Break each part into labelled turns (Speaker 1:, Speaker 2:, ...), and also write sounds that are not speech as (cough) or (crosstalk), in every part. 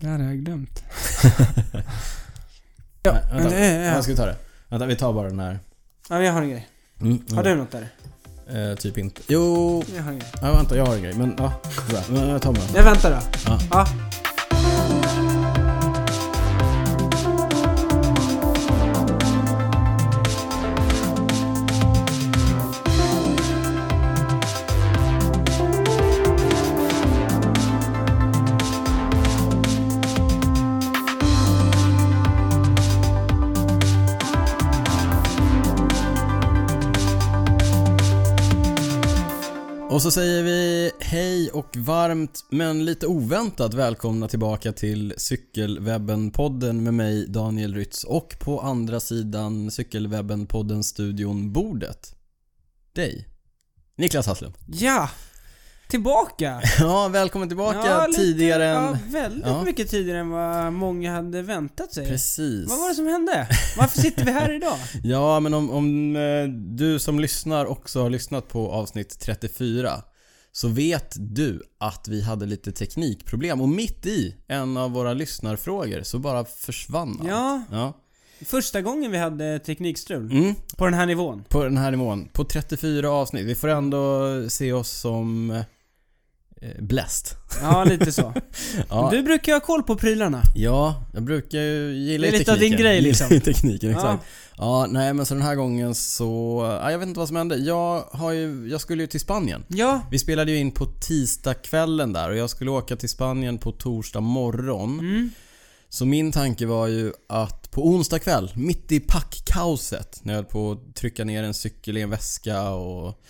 Speaker 1: Det hade jag
Speaker 2: (laughs)
Speaker 1: glömt.
Speaker 2: Ja,
Speaker 1: ja,
Speaker 2: Nej,
Speaker 1: men
Speaker 2: vänta.
Speaker 1: det är...
Speaker 2: Ja, ska vi ta det? Vänta, vi tar bara den här.
Speaker 1: Ja, men jag har en grej.
Speaker 2: Mm,
Speaker 1: Har
Speaker 2: mm.
Speaker 1: du något där?
Speaker 2: Eh, typ inte. Jo,
Speaker 1: Jag har en grej.
Speaker 2: ja, vänta jag har en grej. Men ja, sådär. Men eh, jag tar med den.
Speaker 1: Jag väntar då.
Speaker 2: Ja.
Speaker 1: Ja.
Speaker 2: Och så säger vi hej och varmt men lite oväntat välkomna tillbaka till Cykelwebben-podden med mig Daniel Rytz och på andra sidan Cykelwebben-podden-studion bordet. Dig. Niklas Hasslum. (laughs)
Speaker 1: ja. Tillbaka.
Speaker 2: Ja, välkommen tillbaka
Speaker 1: Ja, lite-
Speaker 2: tidigare än...
Speaker 1: Ja, väldigt
Speaker 2: Ja.
Speaker 1: mycket tidigare än vad många hade väntat sig.
Speaker 2: Precis.
Speaker 1: Vad var det som hände? Varför sitter vi här
Speaker 2: (laughs)
Speaker 1: idag?
Speaker 2: Ja, men om, om eh, du som lyssnar också har lyssnat på avsnitt 34 så vet du att vi hade lite teknikproblem och mitt i en av våra lyssnarfrågor så bara försvann allt.
Speaker 1: Ja,
Speaker 2: ja.
Speaker 1: första gången vi hade teknikstrul.
Speaker 2: Mm,
Speaker 1: På den här nivån.
Speaker 2: på den här nivån. På 34 avsnitt. Vi får ändå se oss som eh,
Speaker 1: (laughs)
Speaker 2: bläst.
Speaker 1: Ja, lite så.
Speaker 2: (laughs) Ja.
Speaker 1: Du brukar ju ha koll på prylarna.
Speaker 2: ja, jag brukar ju gilla
Speaker 1: Det är lite av
Speaker 2: tekniken.
Speaker 1: din grej,
Speaker 2: Gillar
Speaker 1: liksom.
Speaker 2: ju (laughs) tekniken,
Speaker 1: Ja.
Speaker 2: exakt. Ja. nej men så den här gången så... Ja, jag vet inte vad som hände. Jag, har ju, jag skulle ju till Spanien.
Speaker 1: Ja.
Speaker 2: Vi spelade ju in på tisdagskvällen där och jag skulle åka till Spanien på torsdag morgon.
Speaker 1: Mm.
Speaker 2: Så min tanke var ju att på onsdag kväll, mitt i packkaoset, när jag höll på att trycka ner en cykel i en väska och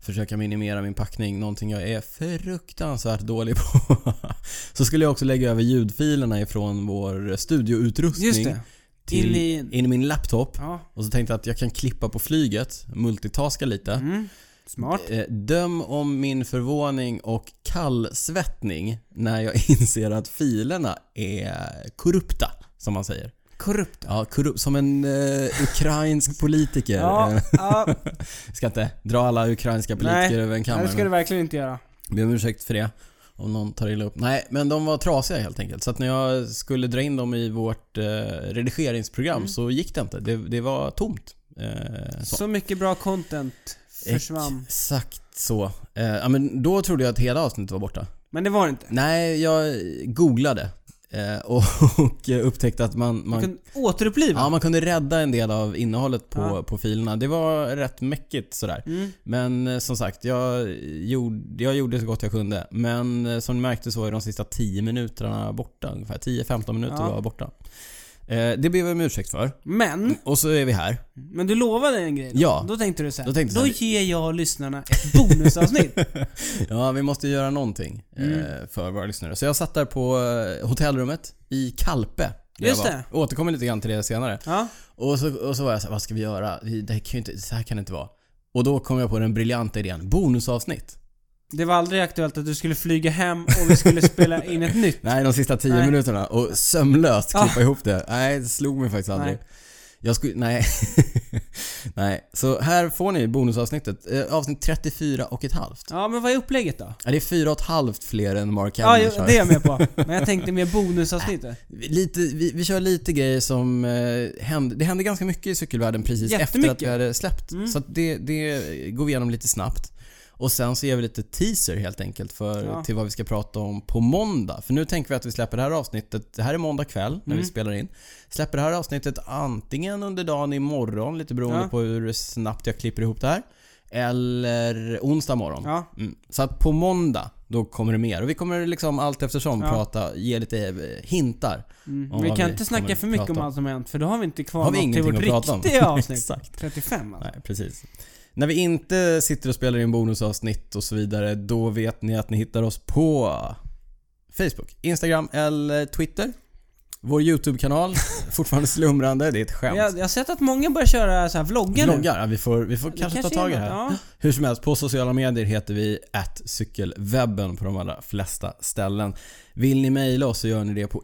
Speaker 2: försöka minimera min packning, någonting jag är fruktansvärt dålig på. (laughs) så skulle jag också lägga över ljudfilerna ifrån vår studioutrustning
Speaker 1: Just det.
Speaker 2: till
Speaker 1: In i-
Speaker 2: in i min laptop.
Speaker 1: Ja.
Speaker 2: Och så tänkte jag att jag kan klippa på flyget, multitaska lite.
Speaker 1: Mm. Smart.
Speaker 2: Eh, Döm om min förvåning och kallsvettning när jag (laughs) inser att filerna är korrupta, som man säger.
Speaker 1: Korrupt.
Speaker 2: Ja, korrupt, som en eh,
Speaker 1: (laughs)
Speaker 2: ukrainsk politiker.
Speaker 1: Ja,
Speaker 2: (laughs) Eh,
Speaker 1: ja.
Speaker 2: Ska inte dra alla ukrainska
Speaker 1: Nej,
Speaker 2: politiker över en
Speaker 1: Nej,
Speaker 2: kammare.
Speaker 1: det ska du verkligen inte göra.
Speaker 2: Be om ursäkt för det. Om någon tar illa upp. Nej, men de var trasiga helt enkelt. Så att när jag skulle dra in dem i vårt eh, redigeringsprogram
Speaker 1: Mm.
Speaker 2: så gick det inte. Det, det var tomt. Eh, så.
Speaker 1: Så mycket bra content försvann.
Speaker 2: Exakt så. Eh, ja, men då trodde jag att hela avsnittet var borta.
Speaker 1: Men det var det inte.
Speaker 2: Nej, jag googlade eh, och, (laughs) och upptäckte att man,
Speaker 1: Man
Speaker 2: man,
Speaker 1: kan återuppliva.
Speaker 2: ja, man kunde rädda en del av innehållet på,
Speaker 1: Ja.
Speaker 2: på filerna. Det var rätt mäckigt sådär.
Speaker 1: Mm.
Speaker 2: Men eh, som sagt, jag gjorde, jag gjorde så gott jag kunde. Men eh, som ni märkte så var ju de sista 10 minuterna borta ungefär. 10-15 minuter
Speaker 1: Ja.
Speaker 2: var borta. Eh, det ber vi om ursäkt för.
Speaker 1: Men,
Speaker 2: Och så är vi här.
Speaker 1: men du lovade en grej då.
Speaker 2: Mm. Ja.
Speaker 1: Då tänkte du så här,
Speaker 2: Då
Speaker 1: då,
Speaker 2: tänkte jag så
Speaker 1: ger jag lyssnarna ett
Speaker 2: (laughs)
Speaker 1: bonusavsnitt.
Speaker 2: Ja, vi måste göra någonting eh,
Speaker 1: Mm.
Speaker 2: för våra lyssnare. Så jag satt där på eh, hotellrummet i Kalpe. där jag
Speaker 1: Just
Speaker 2: var.
Speaker 1: det.
Speaker 2: Återkommer lite grann till det senare.
Speaker 1: ja.
Speaker 2: Och så, och så var jag så här, vad ska vi göra? Vi- Det här kan ju inte, så här kan det inte vara. Och då kom jag på den briljanta idén, bonusavsnitt.
Speaker 1: Det var aldrig aktuellt att du skulle flyga hem och vi skulle spela in ett nytt.
Speaker 2: Nej, de sista tio
Speaker 1: Nej.
Speaker 2: minuterna och sömlöst klippa
Speaker 1: Ah.
Speaker 2: ihop det. Nej, det slog mig faktiskt aldrig.
Speaker 1: Nej.
Speaker 2: Jag skulle, nej. (laughs) nej. Så här får ni bonusavsnittet. Eh, avsnitt 34 och ett halvt.
Speaker 1: Ja, men vad är upplägget då?
Speaker 2: Ja, det är fyra och ett halvt fler än Mark
Speaker 1: Ja,
Speaker 2: Hamill
Speaker 1: jo,
Speaker 2: kör.
Speaker 1: det är jag med på. Men jag tänkte mer
Speaker 2: (laughs)
Speaker 1: bonusavsnittet.
Speaker 2: Vi- Lite, vi, vi kör lite grejer som eh, hände, det hände ganska mycket i cykelvärlden precis efter att vi
Speaker 1: Jättemycket.
Speaker 2: hade släppt.
Speaker 1: Mm.
Speaker 2: Så att det, det går vi igenom lite snabbt. Och sen så ger vi lite teaser helt enkelt för,
Speaker 1: Ja.
Speaker 2: till vad vi ska prata om på måndag. För nu tänker vi att vi släpper det här avsnittet, det här är måndag kväll när vi
Speaker 1: Mm.
Speaker 2: spelar in. Släpper det här avsnittet antingen under dagen imorgon, lite beroende
Speaker 1: Ja.
Speaker 2: på hur snabbt jag klipper ihop det här. Eller onsdag morgon.
Speaker 1: Ja.
Speaker 2: Mm. Så att på måndag, då kommer det mer. Och vi kommer liksom allt eftersom
Speaker 1: Ja.
Speaker 2: prata, ge lite eh, hintar.
Speaker 1: Mm.
Speaker 2: Om
Speaker 1: vi
Speaker 2: vad
Speaker 1: kan
Speaker 2: vi
Speaker 1: inte
Speaker 2: kommer
Speaker 1: snacka för mycket
Speaker 2: prata
Speaker 1: om
Speaker 2: om.
Speaker 1: allt som har hänt, för då har vi inte kvar
Speaker 2: Har vi
Speaker 1: något till
Speaker 2: ingenting
Speaker 1: vårt
Speaker 2: att prata om. (laughs)
Speaker 1: riktiga avsnitt.
Speaker 2: Exakt.
Speaker 1: 35 alltså.
Speaker 2: Nej, precis. När vi inte sitter och spelar in bonusavsnitt och så vidare, då vet ni att ni hittar oss på Facebook, Instagram eller Twitter. Vår YouTube-kanal, (laughs) fortfarande slumrande. Det är ett skämt.
Speaker 1: Jag, jag har sett att många börjar köra så här vloggar nu.
Speaker 2: Vloggar. Ja, vi får, vi får
Speaker 1: Det
Speaker 2: kanske, ta tag i
Speaker 1: är
Speaker 2: det här.
Speaker 1: något, Ja.
Speaker 2: Hur som helst, på sociala medier heter vi cykelwebben på de allra flesta ställen. Vill ni mejla oss så gör ni det på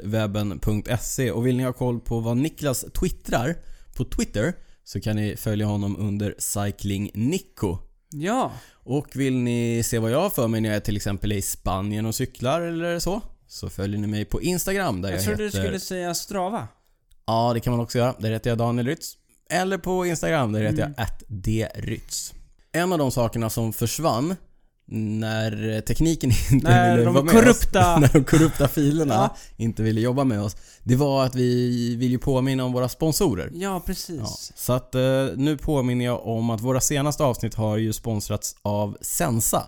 Speaker 2: info.cykelwebben.se och vill ni ha koll på vad Niklas twittrar på Twitter så kan ni följa honom under cyclingnico.
Speaker 1: ja.
Speaker 2: Och vill ni se vad jag har för mig när jag är till exempel i Spanien och cyklar eller så så följer ni mig på Instagram där jag,
Speaker 1: Jag trodde du
Speaker 2: heter...
Speaker 1: skulle säga Strava.
Speaker 2: Ja, det kan man också göra. Där heter jag Daniel Rytz. Eller på Instagram, där
Speaker 1: Mm.
Speaker 2: heter jag @drytz. En av de sakerna som försvann när tekniken (laughs) inte
Speaker 1: När
Speaker 2: ville
Speaker 1: de
Speaker 2: vara med
Speaker 1: korrupta-
Speaker 2: oss, (laughs) när de korrupta filerna
Speaker 1: Ja.
Speaker 2: inte ville jobba med oss, det var att vi vill ju påminna om våra sponsorer.
Speaker 1: Ja,
Speaker 2: Ja,
Speaker 1: precis.
Speaker 2: så att eh, nu påminner jag om att våra senaste avsnitt har ju sponsrats av Sensa.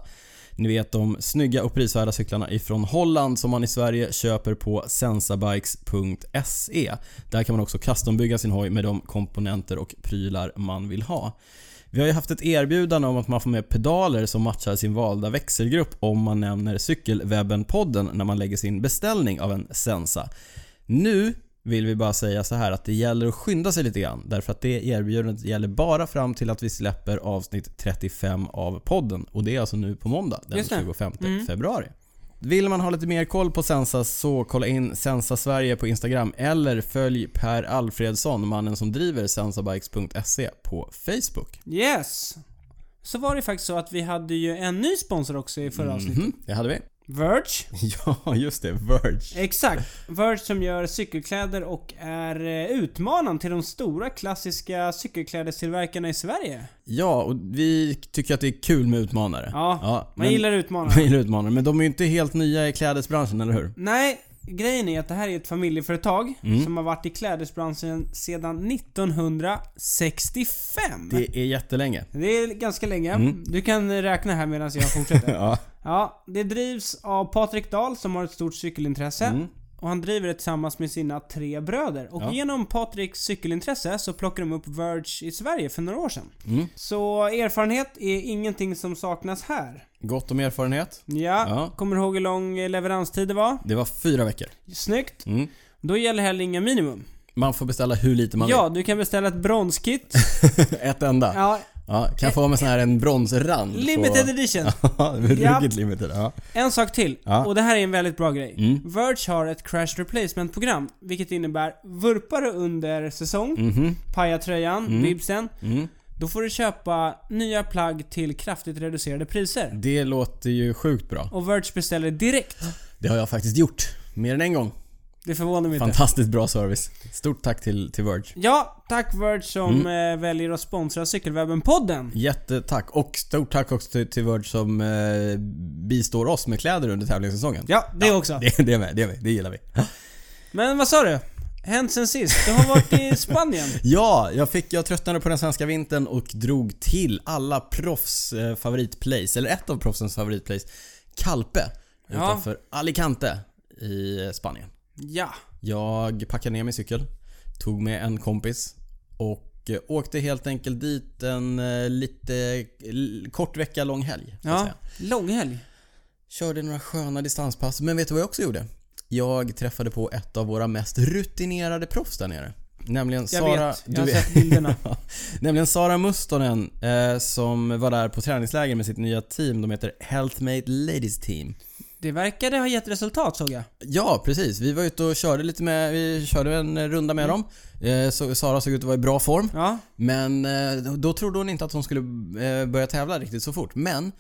Speaker 2: Ni vet de snygga och prisvärda cyklarna ifrån Holland som man i Sverige köper på sensabikes.se. Där kan man också custombygga sin hoj med de komponenter och prylar man vill ha. Vi har ju haft ett erbjudande om att man får med pedaler som matchar sin valda växelgrupp om man nämner Cykelwebben-podden när man lägger sin beställning av en Sensa. Nu vill vi bara säga så här att det gäller att skynda sig lite grann därför att det erbjudandet gäller bara fram till att vi släpper avsnitt 35 av podden och det är alltså nu på måndag den
Speaker 1: Just det. Mm.
Speaker 2: 25 februari. Vill man ha lite mer koll på Sensa så kolla in Sensa Sverige på Instagram eller följ Per Alfredsson, mannen som driver sensabikes.se på Facebook.
Speaker 1: Yes! Så var det faktiskt så att vi hade ju en ny sponsor också i förra avsnittet.
Speaker 2: Mhm, det hade vi.
Speaker 1: Verge.
Speaker 2: (laughs) Ja, just det. Verge.
Speaker 1: Exakt. Verge som gör cykelkläder och är eh, utmanaren till de stora klassiska cykelklädestillverkarna i Sverige.
Speaker 2: Ja, och vi tycker att det är kul med utmanare.
Speaker 1: Ja, man
Speaker 2: men-
Speaker 1: gillar utmanare.
Speaker 2: (laughs) Man gillar utmanare, men de är ju inte helt nya i klädesbranschen, eller hur?
Speaker 1: Nej, grejen är att det här är ett familjeföretag
Speaker 2: Mm.
Speaker 1: som har varit i klädesbranschen sedan 1965. Det,
Speaker 2: Det Mm. är jättelänge.
Speaker 1: är ganska länge. Du kan räkna här medan jag fortsätter.
Speaker 2: (laughs) Ja.
Speaker 1: ja, det drivs av Patrik Dahl som har ett stort cykelintresse.
Speaker 2: Mm.
Speaker 1: Och han driver det tillsammans med sina tre bröder. Och genom Patriks cykelintresse så plockade de upp Verge i Sverige för några år sedan.
Speaker 2: Mm.
Speaker 1: Så erfarenhet är ingenting som saknas här.
Speaker 2: Gott om erfarenhet.
Speaker 1: Ja,
Speaker 2: Ja.
Speaker 1: kommer du ihåg hur lång eh, leveranstid det var?
Speaker 2: Det var fyra veckor.
Speaker 1: Snyggt.
Speaker 2: Mm.
Speaker 1: Då gäller heller inga minimum.
Speaker 2: Man får beställa hur lite man
Speaker 1: Ja, du kan beställa ett
Speaker 2: (laughs)
Speaker 1: bronskit.
Speaker 2: vill. Ett enda.
Speaker 1: Ja,
Speaker 2: Ja, kan få ha med sån här en bronsrand. på-
Speaker 1: limited
Speaker 2: (laughs)
Speaker 1: edition.
Speaker 2: Ja,
Speaker 1: Japp.
Speaker 2: ruggigt limited. Ja.
Speaker 1: En sak till,
Speaker 2: Ja. Mm.
Speaker 1: och det här är en väldigt bra grej. Verge har ett crash replacement-program, vilket innebär vurpar du under säsong,
Speaker 2: Mhm.
Speaker 1: pajar tröjan, bibsen,
Speaker 2: Mm.
Speaker 1: då får du köpa nya plagg till kraftigt reducerade priser.
Speaker 2: Det låter ju sjukt bra.
Speaker 1: Och Verge beställer direkt.
Speaker 2: Det har jag faktiskt gjort. Mer än en gång.
Speaker 1: Det förvånar mig inte.
Speaker 2: Fantastiskt bra service. Stort tack till, till Verge.
Speaker 1: Ja, tack Verge som
Speaker 2: Mm.
Speaker 1: eh, väljer att sponsra Cykelwebben-podden.
Speaker 2: Jättetack. Och stort tack också till, till Verge som eh, bistår oss med kläder under tävlingssäsongen.
Speaker 1: Ja, det också.
Speaker 2: Det, det är med, det är med. Det gillar vi.
Speaker 1: Men vad sa du? Hänt sen sist? Du har varit
Speaker 2: (laughs)
Speaker 1: i Spanien?
Speaker 2: Ja, jag, fick, jag tröttnade på den svenska vintern och drog till alla proffs eh, favoritplace, eller ett av proffsens favoritplace, Calpe.
Speaker 1: Ja.
Speaker 2: Utanför Alicante i eh, Spanien.
Speaker 1: Ja.
Speaker 2: Jag packade ner min cykel, tog med en kompis och eh, åkte helt enkelt dit en eh, lite l- kort vecka lång helg. så att
Speaker 1: Ja,
Speaker 2: säga.
Speaker 1: långhelg.
Speaker 2: Körde några sköna distanspass, men vet du vad jag också gjorde? Jag träffade på ett av våra mest rutinerade proffs där nere. Nämligen
Speaker 1: Jag
Speaker 2: Sara...
Speaker 1: vet,
Speaker 2: du
Speaker 1: jag har sett
Speaker 2: (laughs)
Speaker 1: bilderna.
Speaker 2: Nämligen Sara Mustonen eh, som var där på träningsläger med sitt nya team. De heter Healthmate Ladies Team.
Speaker 1: Det verkade ha gett resultat såg jag.
Speaker 2: Ja, precis. Vi var ute och körde lite med, vi körde en runda
Speaker 1: Mm.
Speaker 2: med dem. Eh, så Sara såg ut att vara i bra form.
Speaker 1: Ja.
Speaker 2: Men eh, då trodde hon inte att hon skulle eh, börja tävla riktigt så fort. Men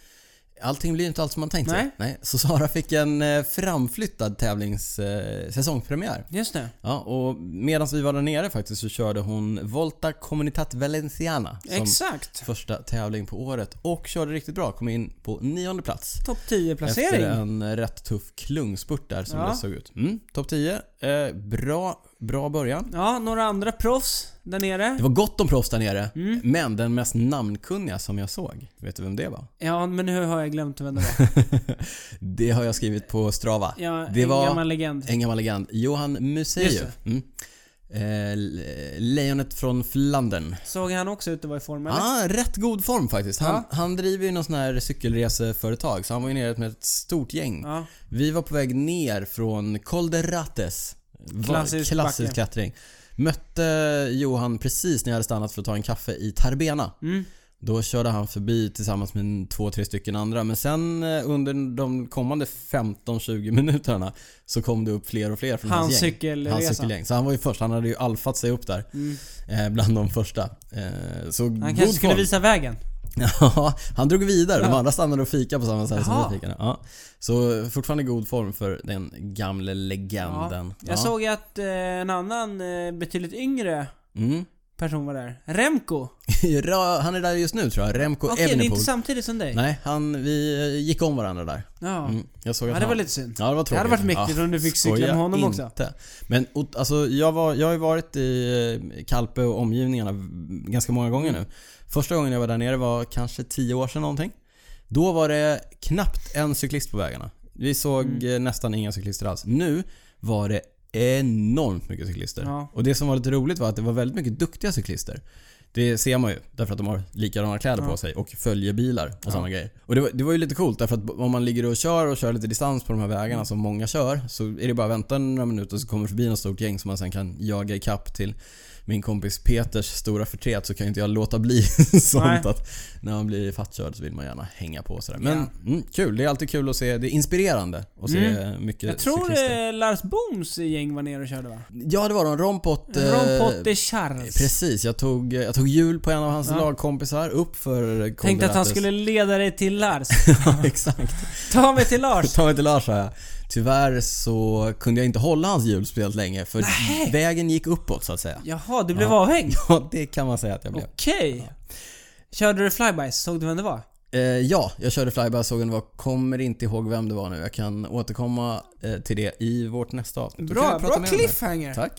Speaker 2: allting blir ju inte allt som man tänkt sig.
Speaker 1: Nej.
Speaker 2: Nej. Så Sara fick en eh, framflyttad tävlings eh, säsongspremiär.
Speaker 1: Just det.
Speaker 2: Ja, och medan vi var där nere faktiskt så körde hon Volta Comunitat Valenciana. Som
Speaker 1: Exakt.
Speaker 2: första tävling på året och körde riktigt bra. Kom in på nionde plats.
Speaker 1: Topp 10 placering.
Speaker 2: Efter en eh, rätt tuff klungspurt där som
Speaker 1: Ja.
Speaker 2: det såg ut. Mm, Topp 10. Eh, bra, bra början.
Speaker 1: Ja, några andra proffs där nere.
Speaker 2: Det var gott om proffs där nere,
Speaker 1: Mm.
Speaker 2: men den mest namnkunniga som jag såg, vet du vem det var?
Speaker 1: Ja, men nu har jag glömt vem det
Speaker 2: (laughs)
Speaker 1: var.
Speaker 2: Det har jag skrivit på Strava.
Speaker 1: Ja,
Speaker 2: det
Speaker 1: en
Speaker 2: var
Speaker 1: gammal legend.
Speaker 2: en gammal legend. Johan
Speaker 1: Just
Speaker 2: Museev. Mm. Eh, le- lejonet från Flandern.
Speaker 1: Såg han också ut att vara i form eller?
Speaker 2: Ja, ah, rätt god form faktiskt. Han, han driver ju någon sån här cykelreseföretag så han var ju nere med ett stort gäng.
Speaker 1: Ja.
Speaker 2: Vi var på väg ner från Col de Rates. Va-
Speaker 1: Klassisk
Speaker 2: klassisk
Speaker 1: backe.
Speaker 2: klättring. Mötte Johan precis när jag hade stannat för att ta en kaffe i Tarbena.
Speaker 1: Mm.
Speaker 2: Då körde han förbi tillsammans med två, tre stycken andra. Men sen eh, under de kommande 15-20 minuterna så kom det upp fler och fler från
Speaker 1: Hans
Speaker 2: hans gäng.
Speaker 1: cykelresa. Mm.
Speaker 2: Hans cykelgäng. Så han var ju först. Han hade ju alfat sig upp där. Eh, bland de första. Eh, så
Speaker 1: Han
Speaker 2: god
Speaker 1: kanske skulle
Speaker 2: form.
Speaker 1: visa vägen.
Speaker 2: (laughs) Ja, han drog vidare. De
Speaker 1: Ja.
Speaker 2: andra stannade och fika på samma sätt
Speaker 1: Jaha.
Speaker 2: som vi fikade. Ja. Så fortfarande god form för den gamle legenden.
Speaker 1: Jag såg ju att eh, en annan eh, betydligt yngre
Speaker 2: Mm. (laughs)
Speaker 1: person var där. Remco.
Speaker 2: Ra- han är där just nu tror jag. Remco
Speaker 1: Okej, det är
Speaker 2: Evenepoel.
Speaker 1: inte samtidigt som dig.
Speaker 2: Nej, han, vi eh, gick om varandra där.
Speaker 1: Ja.
Speaker 2: Mm. Jag såg att
Speaker 1: ja, det
Speaker 2: han...
Speaker 1: var lite synd.
Speaker 2: Ja, det var tråkigt.
Speaker 1: Det hade varit mäktigt
Speaker 2: ja,
Speaker 1: om du fick cykla
Speaker 2: skoja
Speaker 1: med honom
Speaker 2: inte.
Speaker 1: också.
Speaker 2: Men och, alltså, jag, var, jag har ju varit i eh, Kalpe och omgivningarna v- ganska många gånger
Speaker 1: Mm.
Speaker 2: nu. Första gången jag var där nere var kanske 10 år sedan någonting. Då var det knappt en cyklist på vägarna. Vi såg
Speaker 1: Mm.
Speaker 2: eh, nästan inga cyklister alls. Nu var det enormt mycket cyklister.
Speaker 1: Ja.
Speaker 2: Och det som var lite roligt var att det var väldigt mycket duktiga cyklister. Det ser man ju därför att de har likadana kläder på
Speaker 1: Ja.
Speaker 2: sig och följebilar och sådana grejer. Och det var, det var ju lite coolt därför att om man ligger och kör och kör lite distans på de här vägarna som många kör så är det bara att vänta några minuter så kommer det förbi något stort gäng som man sen kan jaga ikapp till min kompis Peters stora förtret så kan ju inte jag låta bli (laughs) sånt
Speaker 1: Nej.
Speaker 2: att när man blir fattkörd så vill man gärna hänga på och sådär.
Speaker 1: Ja.
Speaker 2: Men
Speaker 1: Mm.
Speaker 2: mm, kul, det är alltid kul att se. Det är inspirerande att se mycket
Speaker 1: Jag tror
Speaker 2: cyklister.
Speaker 1: eh, Lars Booms gäng var nere och körde va?
Speaker 2: Ja det var de. Rompot... eh,
Speaker 1: Rompot de Charles.
Speaker 2: Precis, jag tog, jag tog jul på en av hans
Speaker 1: Ja.
Speaker 2: lagkompisar upp för
Speaker 1: Tänkte att han
Speaker 2: Kondrates.
Speaker 1: skulle leda dig till Lars.
Speaker 2: (laughs) ja,
Speaker 1: (laughs)
Speaker 2: exakt.
Speaker 1: Ta mig till
Speaker 2: (laughs)
Speaker 1: Lars.
Speaker 2: Ta mig till Lars sa jag. Tyvärr så kunde jag inte hålla hans hjul speciellt länge för vägen gick uppåt så att säga. (laughs)
Speaker 1: Jaha, du blev avhängd?
Speaker 2: Ja, det kan man säga att jag blev.
Speaker 1: Okej. Körde du flybys? Såg du vem det var?
Speaker 2: Eh, ja, jag körde flyby, såg vem det var. Kommer inte ihåg vem det var nu. Jag kan återkomma eh, till det i vårt nästa avsnitt. Då kan
Speaker 1: Bra,
Speaker 2: jag prata
Speaker 1: bra
Speaker 2: mer om det.
Speaker 1: cliffhanger.
Speaker 2: Tack.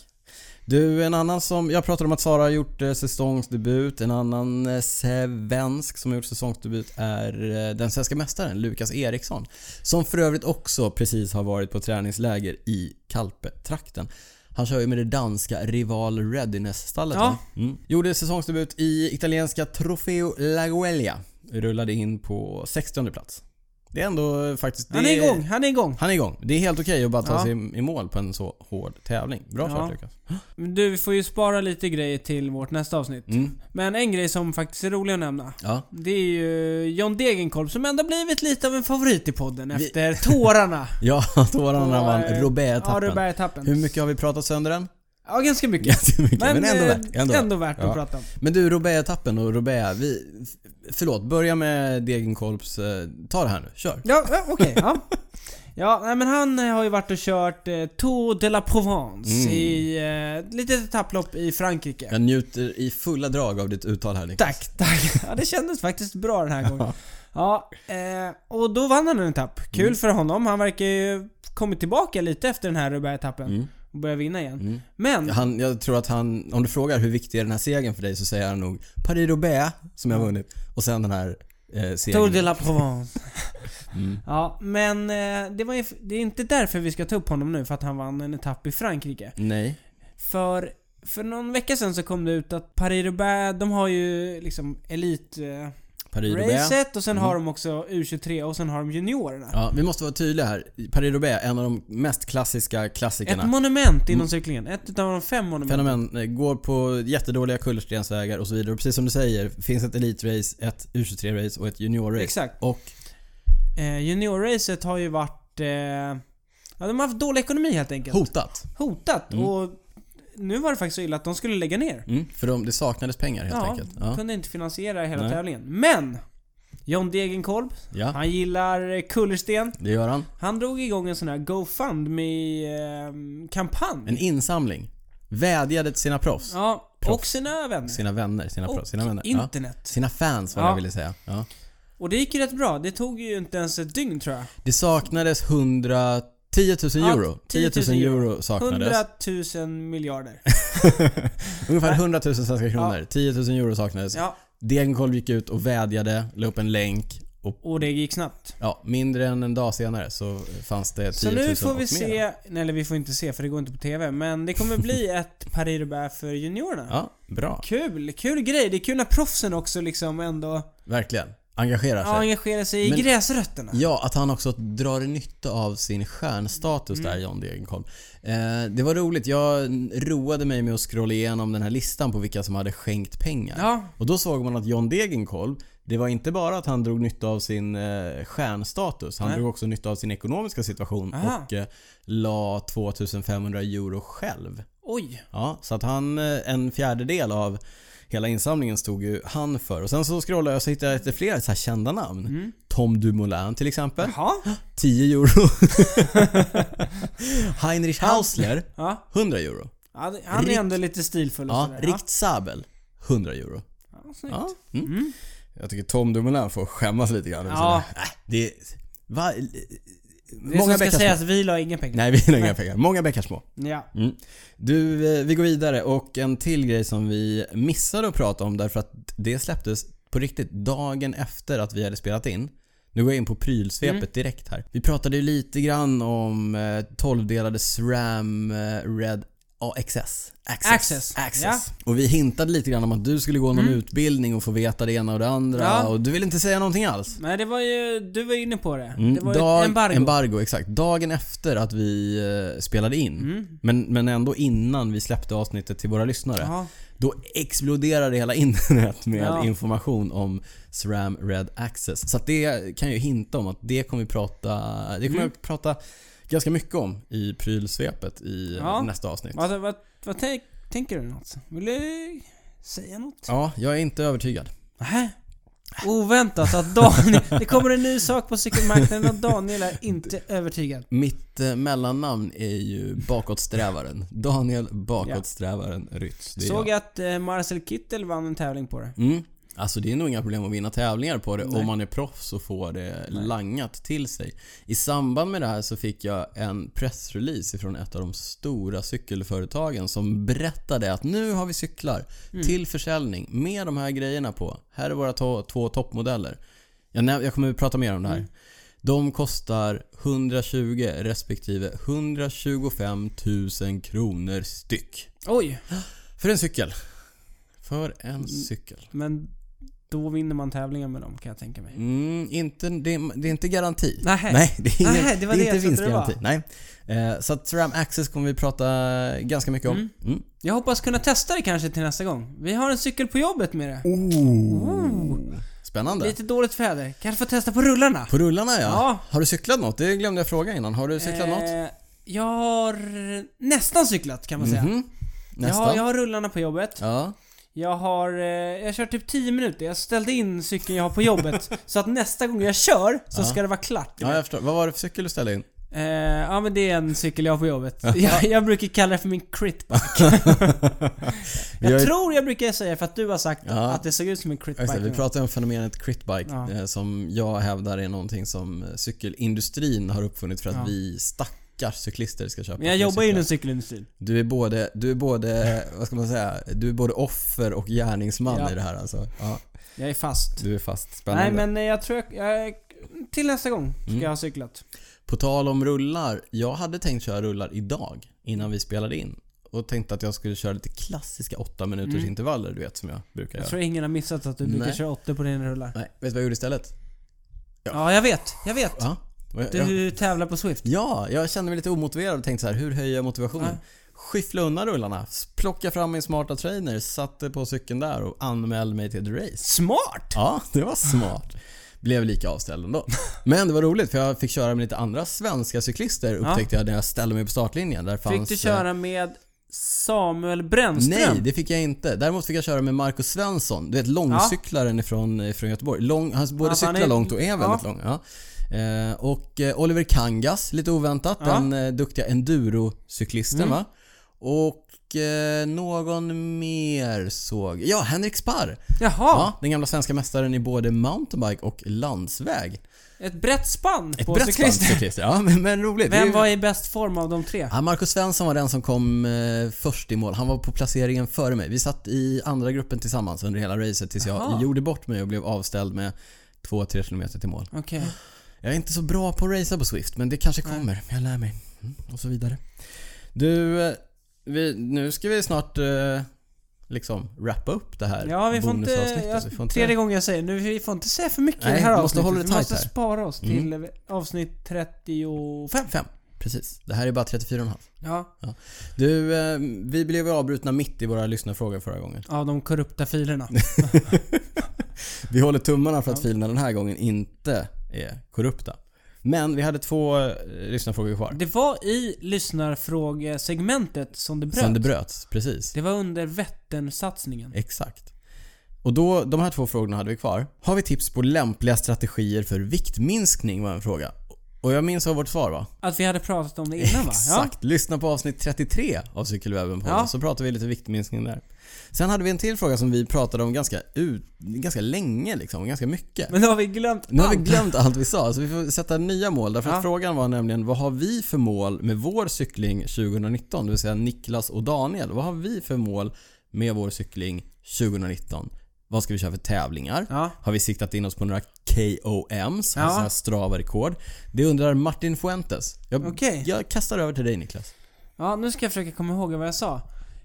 Speaker 2: Du, en annan som... Jag pratade om att Sara har gjort eh, säsongsdebut. En annan eh, svensk som har gjort säsongsdebut är eh, den svenska mästaren Lukas Eriksson. Som för övrigt också precis har varit på träningsläger i Kalpe-trakten. Han kör ju med det danska Rival Readiness-stallet.
Speaker 1: Ja.
Speaker 2: va? Mm. Gjorde säsongsdebut i italienska Trofeo La Guelia. Rullade in på 60 plats. Det är ändå eh, faktiskt...
Speaker 1: Han är
Speaker 2: det-
Speaker 1: igång, han är igång.
Speaker 2: han är igång. Det är helt okej att bara ta
Speaker 1: Ja.
Speaker 2: sig i mål på en så hård tävling. Bra
Speaker 1: Ja.
Speaker 2: kört Lukas.
Speaker 1: Men Du, vi får ju spara lite grejer till vårt nästa avsnitt.
Speaker 2: Mm.
Speaker 1: Men en grej som faktiskt är rolig att nämna.
Speaker 2: Ja.
Speaker 1: Det är ju John Degenkolb som ändå blivit lite av en favorit i podden
Speaker 2: Vi-
Speaker 1: efter
Speaker 2: (laughs)
Speaker 1: tårarna.
Speaker 2: Ja, tårarna när
Speaker 1: Och,
Speaker 2: man
Speaker 1: eh, Ja,
Speaker 2: Robert-etappen.
Speaker 1: Robert-etappen.
Speaker 2: Hur mycket har vi pratat sönder (laughs) den?
Speaker 1: Ja, ganska mycket.
Speaker 2: Ganska mycket, men,
Speaker 1: Men,
Speaker 2: ändå
Speaker 1: eh,
Speaker 2: värt. Ändå. värt.
Speaker 1: att
Speaker 2: Ja.
Speaker 1: prata om.
Speaker 2: Men du, Robert-etappen och Robert. Vi, förlåt, börja med Degenkolbs... eh, Ta det här nu, kör.
Speaker 1: Ja, ja, okej. ja. Ja, nej, men han eh, har ju varit och kört eh, Tour de la Provence
Speaker 2: Mm.
Speaker 1: i eh, ett litet etapplopp i Frankrike.
Speaker 2: Jag njuter i fulla drag av ditt uttal här Niklas.
Speaker 1: Tack, tack. Ja, det kändes faktiskt bra den här gången. Ja, eh, och då vann han en etapp. Kul
Speaker 2: Mm.
Speaker 1: för honom. Han verkar ju ha kommit tillbaka lite efter den här Roubaix-etappen.
Speaker 2: Mm.
Speaker 1: Och börja vinna igen.
Speaker 2: Mm.
Speaker 1: Men,
Speaker 2: Han, jag tror att han, om du frågar hur viktig är den här segern för dig så säger han nog Paris-Roubaix som jag vunnit och sen den här eh,
Speaker 1: Tour de
Speaker 2: segern.
Speaker 1: la Provence.
Speaker 2: Mm.
Speaker 1: Ja, men eh, det, var ju, det är inte därför vi ska ta upp honom nu, för att han vann en etapp i Frankrike.
Speaker 2: Nej.
Speaker 1: För, för någon vecka sedan så kom det ut att Paris-Roubaix, de har ju liksom elit-racet
Speaker 2: Paris-Roubaix.
Speaker 1: och sen har de också U23 och sen har de juniorerna.
Speaker 2: Mm. Ja, vi måste vara tydliga här. Paris-Roubaix, en av de mest klassiska klassikerna.
Speaker 1: Ett monument inom cyklingen. Ett utav de fem monumenten.
Speaker 2: Mm. Fenomen. eh, Går på jättedåliga kullerstensvägar och så vidare. Och precis som du säger, finns ett Elite-race, ett U23-race och ett Junior-race.
Speaker 1: Exakt.
Speaker 2: Och
Speaker 1: Eh, Juniorracet har ju varit... Eh, ja, de har haft dålig ekonomi helt enkelt.
Speaker 2: hotat.
Speaker 1: Hotat. Och nu var det faktiskt så illa att de skulle lägga ner.
Speaker 2: Mm, för de, det saknades pengar helt
Speaker 1: ja,
Speaker 2: enkelt. Ja.
Speaker 1: kunde inte finansiera hela
Speaker 2: Nej.
Speaker 1: tävlingen. Men! John Degenkolb,
Speaker 2: ja,
Speaker 1: han gillar eh, kullersten.
Speaker 2: det gör han.
Speaker 1: Han drog igång en sån här ehm, GoFundMe-kampanj.
Speaker 2: En insamling. Vädjade till sina proffs.
Speaker 1: ja, och sina vänner.
Speaker 2: Sina vänner, sina
Speaker 1: och
Speaker 2: proffs, sina vänner. Ja.
Speaker 1: internet.
Speaker 2: Sina fans vad
Speaker 1: Ja.
Speaker 2: jag ville säga. Ja.
Speaker 1: Och det gick ju rätt bra. Det tog ju inte ens ett dygn tror jag.
Speaker 2: Det saknades 100... 10 000
Speaker 1: Ja,
Speaker 2: euro. 10
Speaker 1: 10
Speaker 2: 000 euro
Speaker 1: 100
Speaker 2: saknades.
Speaker 1: 000
Speaker 2: (laughs)
Speaker 1: miljarder.
Speaker 2: Ungefär 100 000 svenska kronor. 10 000 euro saknades.
Speaker 1: Ja,
Speaker 2: Degenkolb gick ut och vädjade, la upp en länk och
Speaker 1: och det gick snabbt.
Speaker 2: ja, mindre än en dag senare så fanns det 10 000
Speaker 1: Så nu får
Speaker 2: och mer.
Speaker 1: vi se, nej, eller vi får inte se för det går inte på TV, men det kommer
Speaker 2: (laughs)
Speaker 1: bli ett Paris Roubaix för juniorerna.
Speaker 2: Ja, bra.
Speaker 1: Kul, kul grej. Det är kul när proffsen också liksom ändå
Speaker 2: Verkligen. Engagerar
Speaker 1: ja,
Speaker 2: sig.
Speaker 1: engagerar sig i
Speaker 2: Men-
Speaker 1: gräsrötterna.
Speaker 2: Ja, att han också drar nytta av sin stjärnstatus
Speaker 1: Mm.
Speaker 2: där, John Degenkolb. Eh, det var roligt. Jag roade mig med att scrolla igenom den här listan på vilka som hade skänkt pengar.
Speaker 1: Ja.
Speaker 2: Och då såg man att John Degenkolb Det var inte bara att han drog nytta av sin eh, stjärnstatus. Han
Speaker 1: Nej.
Speaker 2: drog också nytta av sin ekonomiska situation
Speaker 1: Aha.
Speaker 2: och eh, la 2500 euro själv.
Speaker 1: Oj.
Speaker 2: Ja, så att han, eh, en fjärdedel av hela insamlingen stod ju han för. Och sen så scrollade jag så hittade jag lite fler så här kända namn.
Speaker 1: Mm.
Speaker 2: Tom Dumoulin till exempel.
Speaker 1: Jaha. (laughs)
Speaker 2: 10 euro. Heinrich Hausler.
Speaker 1: Ja.
Speaker 2: 100 euro.
Speaker 1: ja det- han är
Speaker 2: Rikt-
Speaker 1: ändå lite stilfull och
Speaker 2: Ja,
Speaker 1: sådär.
Speaker 2: Rikt Sabel. 100 euro.
Speaker 1: Ja, snyggt.
Speaker 2: Ja. Mm. Jag tycker Tom Dumoulin får skämmas lite grann.
Speaker 1: Ja.
Speaker 2: Äh, det är... Va?
Speaker 1: Det är Många
Speaker 2: Många
Speaker 1: som
Speaker 2: bäckar
Speaker 1: ska sägas,
Speaker 2: små.
Speaker 1: vi la inga pengar.
Speaker 2: Nej, vi har inga pengar. Många bäckar små.
Speaker 1: Ja.
Speaker 2: Mm. Du, eh, vi går vidare och en till grej som vi missade att prata om därför att det släpptes på riktigt dagen efter att vi hade spelat in. Nu går jag in på prylsvepet
Speaker 1: Mm.
Speaker 2: direkt här. Vi pratade ju lite grann om eh, 12-delade SRAM eh, Red AXS. Access.
Speaker 1: Access, Mm.
Speaker 2: Access. Och vi hintade lite grann om att du skulle gå någon utbildning och få veta det ena och det andra
Speaker 1: Ja.
Speaker 2: och du ville inte säga någonting alls.
Speaker 1: Nej, det var ju... Du var inne på det.
Speaker 2: Mm,
Speaker 1: Det var ju
Speaker 2: dag-
Speaker 1: ett embargo.
Speaker 2: Embargo, exakt. Dagen efter att vi eh, spelade in,
Speaker 1: Mm.
Speaker 2: men, men ändå innan vi släppte avsnittet till våra lyssnare.
Speaker 1: Ja.
Speaker 2: Då exploderade hela internet med
Speaker 1: Ja.
Speaker 2: information om SRAM Red Access. Så att det kan jag ju hinta om att det kommer vi prata, det
Speaker 1: Mm.
Speaker 2: kommer jag prata ganska mycket om i prylsvepet i eh,
Speaker 1: Ja.
Speaker 2: nästa avsnitt.
Speaker 1: Vad, vad, vad tänk, tänker du något? Vill du säga något?
Speaker 2: Ja, jag är inte övertygad.
Speaker 1: Nähä? Oväntat att Daniel... (laughs) Det kommer en ny sak på cykelmarknaden och Daniel är inte övertygad.
Speaker 2: Mitt eh, mellannamn är ju Bakåtsträvaren. (laughs) Daniel Bakåtsträvaren Rytz. Det är
Speaker 1: Såg
Speaker 2: jag.
Speaker 1: att eh, Marcel Kittel vann en tävling på det.
Speaker 2: Mm. Alltså det är nog inga problem att vinna tävlingar på det
Speaker 1: Nej.
Speaker 2: om man är proffs och får det langat till sig. I samband med det här så fick jag en pressrelease från ett av de stora cykelföretagen som berättade att nu har vi cyklar till försäljning med de här grejerna på. Här är våra to- två toppmodeller. Jag, näm- jag kommer att prata mer om det här. De kostar 120 respektive 125 000 kronor styck.
Speaker 1: Oj!
Speaker 2: För en cykel. För en cykel.
Speaker 1: Men då vinner man tävlingen med dem kan jag tänka mig.
Speaker 2: Mm, inte, det, är, det är inte garanti.
Speaker 1: Nähä.
Speaker 2: Nej, det är, ingen,
Speaker 1: Nähä,
Speaker 2: det
Speaker 1: det var det
Speaker 2: är
Speaker 1: jag
Speaker 2: inte
Speaker 1: trodde det
Speaker 2: vinstgaranti. Nej. Eh, så att SRAM Access kommer vi prata ganska mycket om. Mm.
Speaker 1: Jag hoppas kunna testa det kanske till nästa gång. Vi har en cykel på jobbet med
Speaker 2: Oh.
Speaker 1: det.
Speaker 2: Spännande.
Speaker 1: Lite dåligt väder. Kanske få testa på rullarna.
Speaker 2: På rullarna ja.
Speaker 1: Ja.
Speaker 2: Har du cyklat något? Det glömde jag fråga innan. Har du cyklat något?
Speaker 1: Eh, jag har nästan cyklat kan man säga.
Speaker 2: Mhm.
Speaker 1: jag,
Speaker 2: Nästan.
Speaker 1: har, jag har rullarna på jobbet.
Speaker 2: Ja.
Speaker 1: Jag har... Eh, jag kör typ 10 minuter. Jag ställde in cykeln jag har på jobbet.
Speaker 2: (laughs)
Speaker 1: så att nästa gång jag kör så ska det vara klart.
Speaker 2: ja, jag förstår. Vad var det för cykel du ställde in?
Speaker 1: Eh, ja men det är en cykel jag har på jobbet. (laughs) jag, jag brukar kalla det för min critbike.
Speaker 2: Vi har
Speaker 1: jag
Speaker 2: ju-
Speaker 1: tror jag brukar säga för att du har sagt
Speaker 2: Ja.
Speaker 1: att det såg ut som en
Speaker 2: Ja, just det.
Speaker 1: critbike.
Speaker 2: Vi pratade om fenomenet critbike
Speaker 1: Ja.
Speaker 2: eh, som jag hävdar är någonting som cykelindustrin har uppfunnit för att
Speaker 1: Ja.
Speaker 2: vi stackars cyklister ska köpa.
Speaker 1: men jag
Speaker 2: fler
Speaker 1: jobbar ju
Speaker 2: cyklar.
Speaker 1: inom cykelindustrin.
Speaker 2: Du är både, du är både, vad ska man säga, du är både offer och gärningsman
Speaker 1: Ja.
Speaker 2: i det här alltså. Ja,
Speaker 1: Jag är fast.
Speaker 2: du är fast. Spännande. Mm.
Speaker 1: Nej men eh, jag tror jag, jag... Till nästa gång ska jag ha cyklat.
Speaker 2: På tal om rullar, jag hade tänkt köra rullar idag innan vi spelade in. Och tänkte att jag skulle köra lite klassiska 8 minuters intervaller du vet som jag
Speaker 1: Mm.
Speaker 2: brukar
Speaker 1: Jag
Speaker 2: göra.
Speaker 1: tror ingen har missat att du brukar
Speaker 2: Nej.
Speaker 1: köra 80 på dina rullar.
Speaker 2: Nej, vet du vad jag gjorde istället?
Speaker 1: Ja, jag vet. Jag vet.
Speaker 2: Ja, jag,
Speaker 1: Du tävlar på Swift.
Speaker 2: ja jag kände mig lite omotiverad och tänkte så här, hur höjer jag motivationen?
Speaker 1: Ja.
Speaker 2: Skyffla undan rullarna, plocka fram min smarta trainer, satte på cykeln där och anmälde mig till ett race.
Speaker 1: Smart!
Speaker 2: Ja, det var smart. Blev lika avställd ändå. Men det var roligt för jag fick köra med lite andra svenska cyklister upptäckte jag när jag ställde mig på startlinjen. Där fanns,
Speaker 1: Fick du
Speaker 2: eh,
Speaker 1: köra med Samuel Brännström?
Speaker 2: Nej, det fick jag inte. Däremot fick jag köra med Marcus Svensson. Du vet långcyklaren ifrån, eh, från Göteborg. Lång, han både
Speaker 1: Ja, för han
Speaker 2: cyklar
Speaker 1: är-
Speaker 2: långt och är väldigt
Speaker 1: ja.
Speaker 2: lång. Ja. Eh, och eh, Oliver Kangas, lite oväntat.
Speaker 1: Ja. Mm.
Speaker 2: Den eh, duktiga endurocyklisten va. Och eh, någon mer såg Ja, Henrik Sparr!
Speaker 1: Jaha!
Speaker 2: Ja, den gamla svenska mästaren i både mountainbike och landsväg.
Speaker 1: Ett brett spann
Speaker 2: Ett
Speaker 1: på
Speaker 2: brett spann
Speaker 1: cyklister.
Speaker 2: cyklister. (laughs) Ja, men, men roligt. Det är
Speaker 1: Vem
Speaker 2: ju-
Speaker 1: var i bäst form av de tre?
Speaker 2: Ja, Marcus Svensson var den som kom eh, först i mål. Han var på placeringen före mig. Vi satt i andra gruppen tillsammans under hela racet tills jag
Speaker 1: Jaha.
Speaker 2: gjorde bort mig och blev avställd med 2-3 km till mål.
Speaker 1: Okej.
Speaker 2: Jag är inte så bra på att racea på Swift, men det kanske kommer. Jag lär mig. Mm, och så vidare. Du, eh, vi, nu ska vi snart eh, liksom wrappa upp det här
Speaker 1: Ja, vi får inte...
Speaker 2: bonusavsnittet.
Speaker 1: Jag,
Speaker 2: Vi får inte-
Speaker 1: Tredje gången jag säger nu, vi får inte säga för mycket
Speaker 2: Nej,
Speaker 1: i det här
Speaker 2: vi måste
Speaker 1: avsnittet.
Speaker 2: hålla det
Speaker 1: vi måste
Speaker 2: tight här. Mm.
Speaker 1: spara oss till avsnitt 35.
Speaker 2: Fem, precis. Det här är bara 34,5.
Speaker 1: Ja,
Speaker 2: Du, eh, vi blev ju avbrutna mitt i våra lyssnarfrågor förra gången. (laughs)
Speaker 1: av de korrupta filerna.
Speaker 2: Vi håller tummarna för att filerna den här gången inte är korrupta. Men vi hade två eh, lyssnarfrågor kvar.
Speaker 1: Det var i lyssnarfrågesegmentet som det bröt.
Speaker 2: Sen det bröts, E- precis.
Speaker 1: Det var under Vätternsatsningen.
Speaker 2: Exakt. Och då, de här två frågorna hade vi kvar. Har vi tips på lämpliga strategier för viktminskning var en fråga. Och jag minns av vårt svar va?
Speaker 1: Att vi hade pratat om det innan va?
Speaker 2: Exakt. Lyssna på avsnitt 33 av Cykelwebben på
Speaker 1: Ja.
Speaker 2: så pratar vi lite viktminskning där. Sen hade vi en till fråga som vi pratade om ganska, ut, ganska länge liksom, ganska mycket.
Speaker 1: Men nu har vi glömt
Speaker 2: Nu har vi
Speaker 1: allt.
Speaker 2: glömt allt vi sa, så vi får sätta nya mål. Därför
Speaker 1: Ja.
Speaker 2: att frågan var nämligen, vad har vi för mål med vår cykling 2019? Det vill säga Niklas och Daniel. Vad har vi för mål med vår cykling 2019? Vad ska vi köra för tävlingar?
Speaker 1: Ja.
Speaker 2: Har vi siktat in oss på några KOMs? Alltså här Strava-rekord. Det undrar Martin Fuentes. Jag,
Speaker 1: Okej.
Speaker 2: jag kastar över till dig Niklas.
Speaker 1: Ja, nu ska jag försöka komma ihåg vad jag sa.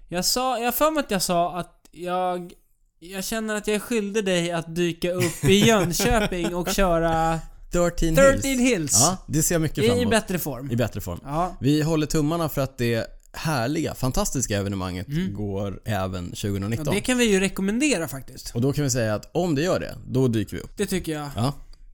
Speaker 1: Jag sa, jag har för mig att jag sa att jag... Jag känner att jag är skyldig dig att dyka upp
Speaker 2: (laughs)
Speaker 1: i Jönköping och köra
Speaker 2: 13 Hills.
Speaker 1: 13 Hills.
Speaker 2: Ja, det ser jag mycket fram
Speaker 1: I
Speaker 2: emot.
Speaker 1: bättre form.
Speaker 2: I bättre form.
Speaker 1: Ja.
Speaker 2: Vi håller tummarna för att det härliga, fantastiska evenemanget går även 2019.
Speaker 1: Och Mm. det kan vi ju rekommendera faktiskt.
Speaker 2: Och då kan vi säga att om det gör det, då dyker vi upp.
Speaker 1: Det tycker jag.
Speaker 2: Ja.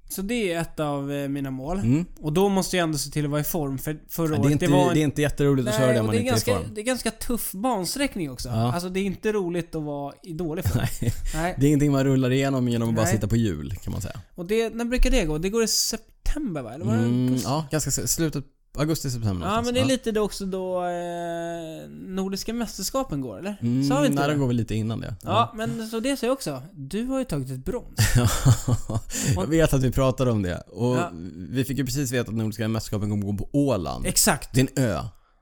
Speaker 1: Så det är ett av eh, mina mål.
Speaker 2: Mm.
Speaker 1: Och då måste jag ändå se till att vara i form för förra
Speaker 2: Det, är
Speaker 1: året.
Speaker 2: inte,
Speaker 1: det var
Speaker 2: det är inte jätteroligt att köra
Speaker 1: Nej,
Speaker 2: det
Speaker 1: och
Speaker 2: man
Speaker 1: det är
Speaker 2: inte
Speaker 1: ganska,
Speaker 2: är i form.
Speaker 1: Det är ganska tuff bansträckning också.
Speaker 2: Ja.
Speaker 1: Alltså det är inte roligt att vara i dålig form.
Speaker 2: (laughs) Nej.
Speaker 1: Nej.
Speaker 2: Det är ingenting man rullar igenom genom att bara
Speaker 1: Nej.
Speaker 2: sitta på hjul kan man säga.
Speaker 1: Och det, när brukar det gå? Det går i september va? Eller var det
Speaker 2: Mm, ja, ganska s- slutet, augusti, september
Speaker 1: Ja
Speaker 2: någonstans.
Speaker 1: men det är lite då också då eh, Nordiska mästerskapen går eller?
Speaker 2: Mm,
Speaker 1: Sa vi inte
Speaker 2: nej,
Speaker 1: det?
Speaker 2: de går väl lite innan det.
Speaker 1: Ja men så det säger jag också. Du har ju tagit ett brons.
Speaker 2: (laughs) jag vet att vi pratade om det. Och
Speaker 1: Ja.
Speaker 2: vi fick ju precis veta att Nordiska mästerskapen kommer att gå på Åland.
Speaker 1: Exakt.
Speaker 2: Det är en ö.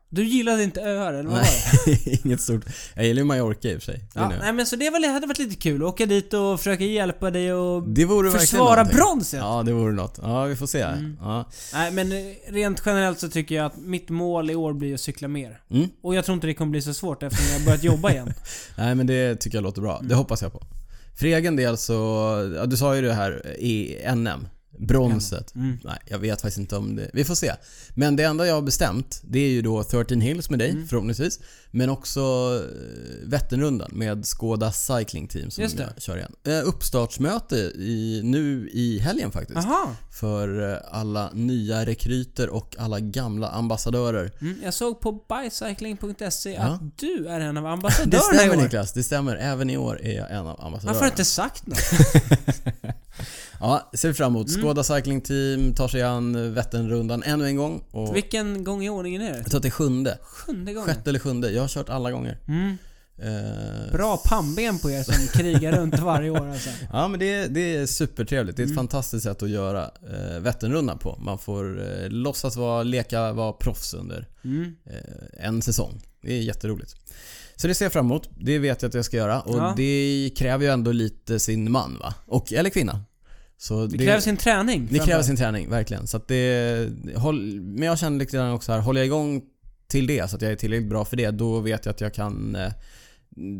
Speaker 1: Du gillade inte öar
Speaker 2: (laughs)
Speaker 1: eller vad var det?
Speaker 2: Inget stort. Jag gillar ju Mallorca i och för sig. Det är
Speaker 1: Ja,
Speaker 2: en ö.
Speaker 1: nej men så det var- hade varit lite kul att åka dit och försöka hjälpa dig och
Speaker 2: Det vore verkligen
Speaker 1: försvara Mm.
Speaker 2: någonting.
Speaker 1: bronset.
Speaker 2: Ja, det vore något. Ja, vi får se. Ja.
Speaker 1: Nej men eh, rent generellt så tycker jag att mitt mål i år blir att cykla mer.
Speaker 2: Mm.
Speaker 1: Och jag tror inte det kommer bli så svårt eftersom jag har börjat jobba
Speaker 2: (laughs)
Speaker 1: igen.
Speaker 2: Nej men det tycker jag låter bra.
Speaker 1: Mm.
Speaker 2: Det hoppas jag på. För egen del så, ja, du sa ju det här i NM. Bronset.
Speaker 1: Mm.
Speaker 2: Nej, jag vet faktiskt inte om det. Vi får se. Men det enda jag har bestämt, det är ju då 13 Hills med dig
Speaker 1: Mm.
Speaker 2: förhoppningsvis. Men också eh, Vätternrundan med Skåda Cycling Team som
Speaker 1: Just det.
Speaker 2: jag kör igen. Eh, Uppstartsmöte i, nu i helgen faktiskt.
Speaker 1: Aha.
Speaker 2: För eh, alla nya rekryter och alla gamla ambassadörer.
Speaker 1: Mm, jag såg på bicycling.se
Speaker 2: Ja.
Speaker 1: att du är
Speaker 2: (laughs)
Speaker 1: en av
Speaker 2: Det
Speaker 1: ambassadörerna i
Speaker 2: stämmer
Speaker 1: år.
Speaker 2: Niklas, det stämmer. Även i år är jag en av ambassadörerna.
Speaker 1: Varför har du inte sagt något?
Speaker 2: Ja, ser vi fram emot.
Speaker 1: Mm.
Speaker 2: Skåda Cycling Team tar sig an Vätternrundan ännu en gång. Och
Speaker 1: Vilken gång i ordningen är det?
Speaker 2: jag tror att det är sjunde.
Speaker 1: Sjunde gången.
Speaker 2: Sjätte eller sjunde. Jag har kört alla gånger.
Speaker 1: Mm.
Speaker 2: Eh,
Speaker 1: Bra pannben på er som krigar runt varje år alltså.
Speaker 2: Ja men det, är- det är supertrevligt. Det
Speaker 1: Mm.
Speaker 2: är ett fantastiskt sätt att göra eh, Vätternrundan på. Man får eh, låtsas vara, leka, vara proffs under
Speaker 1: Mm.
Speaker 2: eh, en säsong. Det är jätteroligt. Så det ser jag fram emot. Det vet jag att jag ska göra. Och
Speaker 1: Ja.
Speaker 2: det kräver ju ändå lite sin man va? Och, eller kvinna. Så
Speaker 1: Det kräver sin träning.
Speaker 2: Det kräver sin träning, verkligen. Så att det, håll, men jag känner lite grann också här, håller jag igång till det så att jag är tillräckligt bra för det, då vet jag att jag kan eh,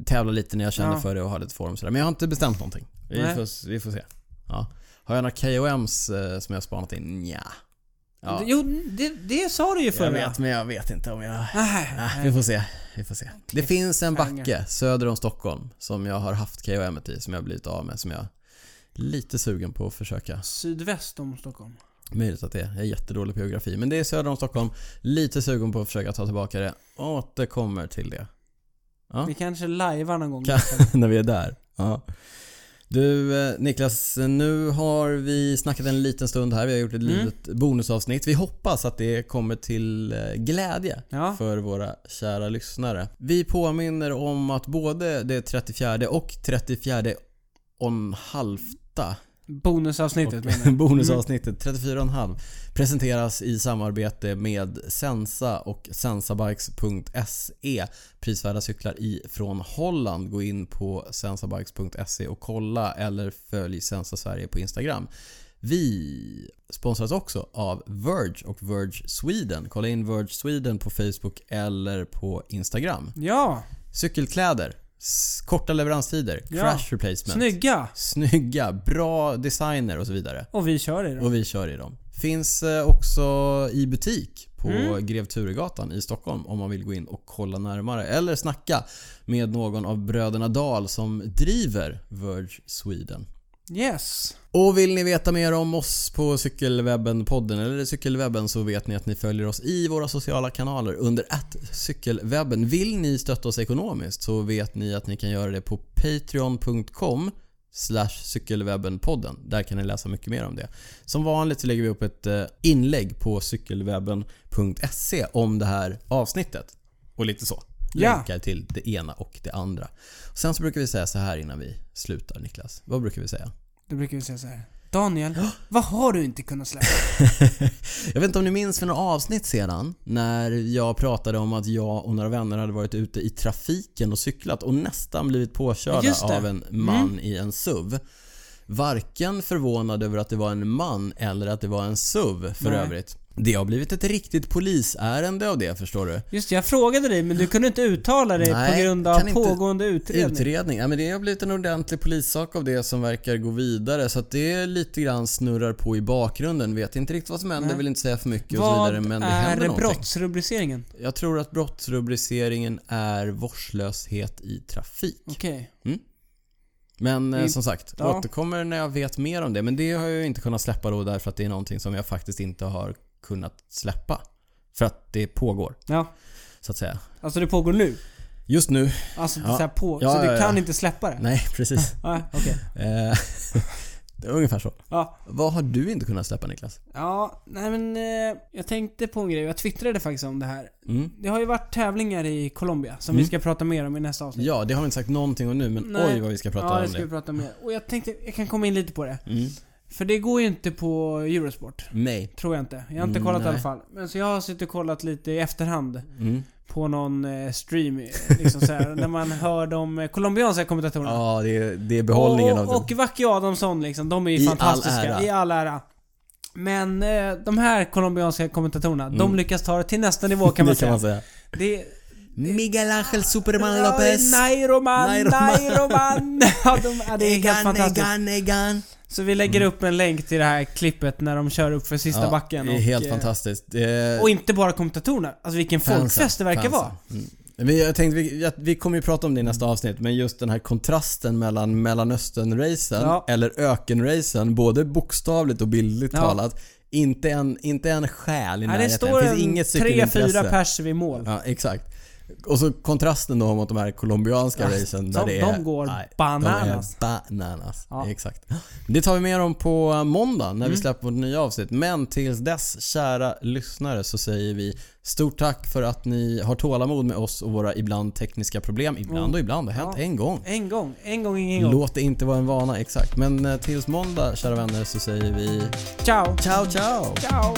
Speaker 2: tävla lite när jag känner
Speaker 1: Ja.
Speaker 2: för det och har lite form sådär. Men jag har inte bestämt någonting. Vi,
Speaker 1: Nej.
Speaker 2: får, vi får se. Ja. Har jag några KOMs eh, som jag har spanat in? Nja. Ja.
Speaker 1: Jo, det, det sa du ju
Speaker 2: Jag
Speaker 1: förra.
Speaker 2: vet, men jag vet inte om jag...
Speaker 1: Nej.
Speaker 2: Ah, vi får se. Vi får se. Det finns en
Speaker 1: Cliffhanger.
Speaker 2: backe söder om Stockholm som jag har haft KOM i, som jag har blivit av med, som jag är lite sugen på att försöka
Speaker 1: Sydväst om Stockholm.
Speaker 2: Möjligt att det är. Jag är jättedålig på geografi. Men det är söder om Stockholm. Lite sugen på att försöka ta tillbaka det. Återkommer till det. (laughs) Ja.
Speaker 1: Vi kanske lajvar någon gång.
Speaker 2: Kan- När vi är där. Ja. Du eh, Niklas, nu har vi snackat en liten stund här. Vi har gjort ett
Speaker 1: Mm.
Speaker 2: litet bonusavsnitt. Vi hoppas att det kommer till eh, glädje
Speaker 1: Ja.
Speaker 2: (laughs) för våra kära lyssnare. Vi påminner om att både det 34 och 34 om halvta
Speaker 1: Bonusavsnittet (laughs) menar
Speaker 2: (laughs)
Speaker 1: jag.
Speaker 2: Bonusavsnittet 34,5 presenteras i samarbete med Sensa och sensabikes.se. Prisvärda cyklar ifrån Holland. Gå in på sensabikes.se och kolla eller följ Sensa Sverige på Instagram. Vi sponsras också av Verge och Verge Sweden. Kolla in Verge Sweden på Facebook eller på Instagram.
Speaker 1: Ja,
Speaker 2: Cykelkläder, s- korta leveranstider,
Speaker 1: Ja.
Speaker 2: crash replacement.
Speaker 1: snygga.
Speaker 2: Snygga, bra designer och så vidare.
Speaker 1: Och vi kör i dem.
Speaker 2: Och vi kör i dem. Finns eh, också i butik på Grev Turegatan i Stockholm om man vill gå in och kolla närmare. Eller snacka med någon av bröderna Dahl som driver Verge Sweden.
Speaker 1: Yes.
Speaker 2: Och vill ni veta mer om oss på Cykelwebben-podden eller Cykelwebben så vet ni att ni följer oss i våra sociala kanaler under cykelwebben. Vill ni stötta oss ekonomiskt så vet ni att ni kan göra det på patreon.com cykelwebbenpodden. Där kan ni läsa mycket mer om det. Som vanligt så lägger vi upp ett eh, inlägg på cykelwebben.se om det här avsnittet. Och lite så.
Speaker 1: Ja.
Speaker 2: Länkar till det ena och det andra. Sen så brukar vi säga så här innan vi slutar Niklas. Vad brukar vi säga?
Speaker 1: Då brukar vi säga så här.
Speaker 2: (gasps)
Speaker 1: Daniel, vad har du inte kunnat släppa?
Speaker 2: Jag vet inte om ni minns för några avsnitt sedan när jag pratade om att jag och några vänner hade varit ute i trafiken och cyklat och nästan blivit påkörda
Speaker 1: Just det. Mm.
Speaker 2: av en man i en SUV. Varken förvånad över att det var en man eller att det var en SUV för
Speaker 1: Nej.
Speaker 2: övrigt. Det har blivit ett riktigt polisärende av det förstår du.
Speaker 1: Just det, jag frågade dig men du kunde inte uttala dig
Speaker 2: Nej,
Speaker 1: på grund av
Speaker 2: kan inte
Speaker 1: pågående utredning.
Speaker 2: Utredning. Ja, men det har blivit en ordentlig polissak av det som verkar gå vidare så att det lite grann snurrar på i bakgrunden. Vet inte riktigt vad som händer,
Speaker 1: Nej.
Speaker 2: vill inte säga för mycket och så
Speaker 1: vad
Speaker 2: vidare men det
Speaker 1: är
Speaker 2: händer någonting.
Speaker 1: brottsrubriceringen?
Speaker 2: Jag tror att brottsrubriceringen är vårdslöshet i trafik.
Speaker 1: Okej.
Speaker 2: Men eh,
Speaker 1: Vi-
Speaker 2: som sagt,
Speaker 1: ja.
Speaker 2: återkommer när jag vet mer om det. Men det har jag ju inte kunnat släppa då därför att det är någonting som jag faktiskt inte har kunnat släppa. För att det pågår,
Speaker 1: Ja.
Speaker 2: så att säga.
Speaker 1: Alltså det pågår nu?
Speaker 2: Just nu. (laughs)
Speaker 1: Alltså det
Speaker 2: Ja.
Speaker 1: är så här på,
Speaker 2: Ja,
Speaker 1: så du
Speaker 2: ja, ja.
Speaker 1: kan inte släppa det?
Speaker 2: Nej,
Speaker 1: (laughs)
Speaker 2: precis.
Speaker 1: Ja, okej.
Speaker 2: Eh, (laughs) det var ungefär så.
Speaker 1: Ja.
Speaker 2: Vad har du inte kunnat släppa Niklas?
Speaker 1: ja, nej men eh, jag tänkte på en grej, jag twittrade faktiskt om det här.
Speaker 2: Mm.
Speaker 1: Det har ju varit tävlingar i Colombia som vi ska prata mer om i nästa avsnitt.
Speaker 2: Ja, det har vi inte sagt någonting om nu men
Speaker 1: Nej.
Speaker 2: Mm. oj vad vi ska prata
Speaker 1: ja, det
Speaker 2: om
Speaker 1: ska vi
Speaker 2: det.
Speaker 1: prata mer. Och jag tänkte, jag kan komma in lite på det.
Speaker 2: Mm.
Speaker 1: För det går ju inte på Eurosport.
Speaker 2: Nej.
Speaker 1: Tror jag inte. Jag har inte
Speaker 2: Mm,
Speaker 1: kollat i
Speaker 2: nej.
Speaker 1: alla fall. Men så jag har suttit och kollat lite i efterhand
Speaker 2: Mm.
Speaker 1: på någon eh, stream, eh, liksom så här, när man hör de eh, colombianska kommentatorerna.
Speaker 2: Ja, det är, det är behållningen
Speaker 1: och,
Speaker 2: av
Speaker 1: och,
Speaker 2: det.
Speaker 1: och Vacchio Adamsson liksom, de är ju
Speaker 2: I all
Speaker 1: fantastiska
Speaker 2: ära.
Speaker 1: i all ära. Men eh, de här colombianska kommentatorerna, de lyckas ta det till nästa nivå
Speaker 2: (laughs)
Speaker 1: kan man
Speaker 2: Mm. det
Speaker 1: säga.
Speaker 2: kan man säga.
Speaker 1: Det,
Speaker 2: Miguel Ángel Superman
Speaker 1: Ja, Nairoman,
Speaker 2: Nairoman.
Speaker 1: Nairoman!
Speaker 2: (laughs)
Speaker 1: (laughs) ja, de, ja, det är helt fantastiskt.
Speaker 2: egan.
Speaker 1: Så vi lägger upp en länk till det här klippet när de kör upp för sista backen.
Speaker 2: Mm. det är
Speaker 1: och,
Speaker 2: helt
Speaker 1: eh,
Speaker 2: fantastiskt. Det-
Speaker 1: Och inte bara kommentatorerna. Alltså vilken
Speaker 2: fansen,
Speaker 1: folkfest det verkar
Speaker 2: fansen.
Speaker 1: vara.
Speaker 2: Mm. Men jag tänkte, vi, att vi kommer ju prata om det i nästa avsnitt, men just den här kontrasten mellan Mellanöstern-racen,
Speaker 1: Ja.
Speaker 2: eller öken-racen, både bokstavligt och bildligt
Speaker 1: Ja.
Speaker 2: talat. Inte en, inte en själ i
Speaker 1: Nej,
Speaker 2: närheten.
Speaker 1: det står
Speaker 2: finns
Speaker 1: en
Speaker 2: inget
Speaker 1: tre,
Speaker 2: cykelintresse.
Speaker 1: fyra pers vid mål.
Speaker 2: Ja, exakt. Och så kontrasten då mot de här colombianska
Speaker 1: Ja,
Speaker 2: racen där
Speaker 1: de-
Speaker 2: det
Speaker 1: de
Speaker 2: är...
Speaker 1: går bananas.
Speaker 2: De är bananas.
Speaker 1: Ja. Mm.
Speaker 2: Exakt. Det tar vi med om på eh, måndag när vi släpper vårt nya avsnitt. Men tills dess, kära lyssnare, så säger vi stort tack för att ni har tålamod med oss och våra ibland tekniska problem. Ibland och ibland. Det har hänt
Speaker 1: Mm. Ja.
Speaker 2: en gång.
Speaker 1: En gång, en gång, ingen gång.
Speaker 2: Låt det inte vara en vana, exakt. Men eh, tills måndag, kära vänner, så säger vi
Speaker 1: Ciao!
Speaker 2: ciao ciao!
Speaker 1: Ciao!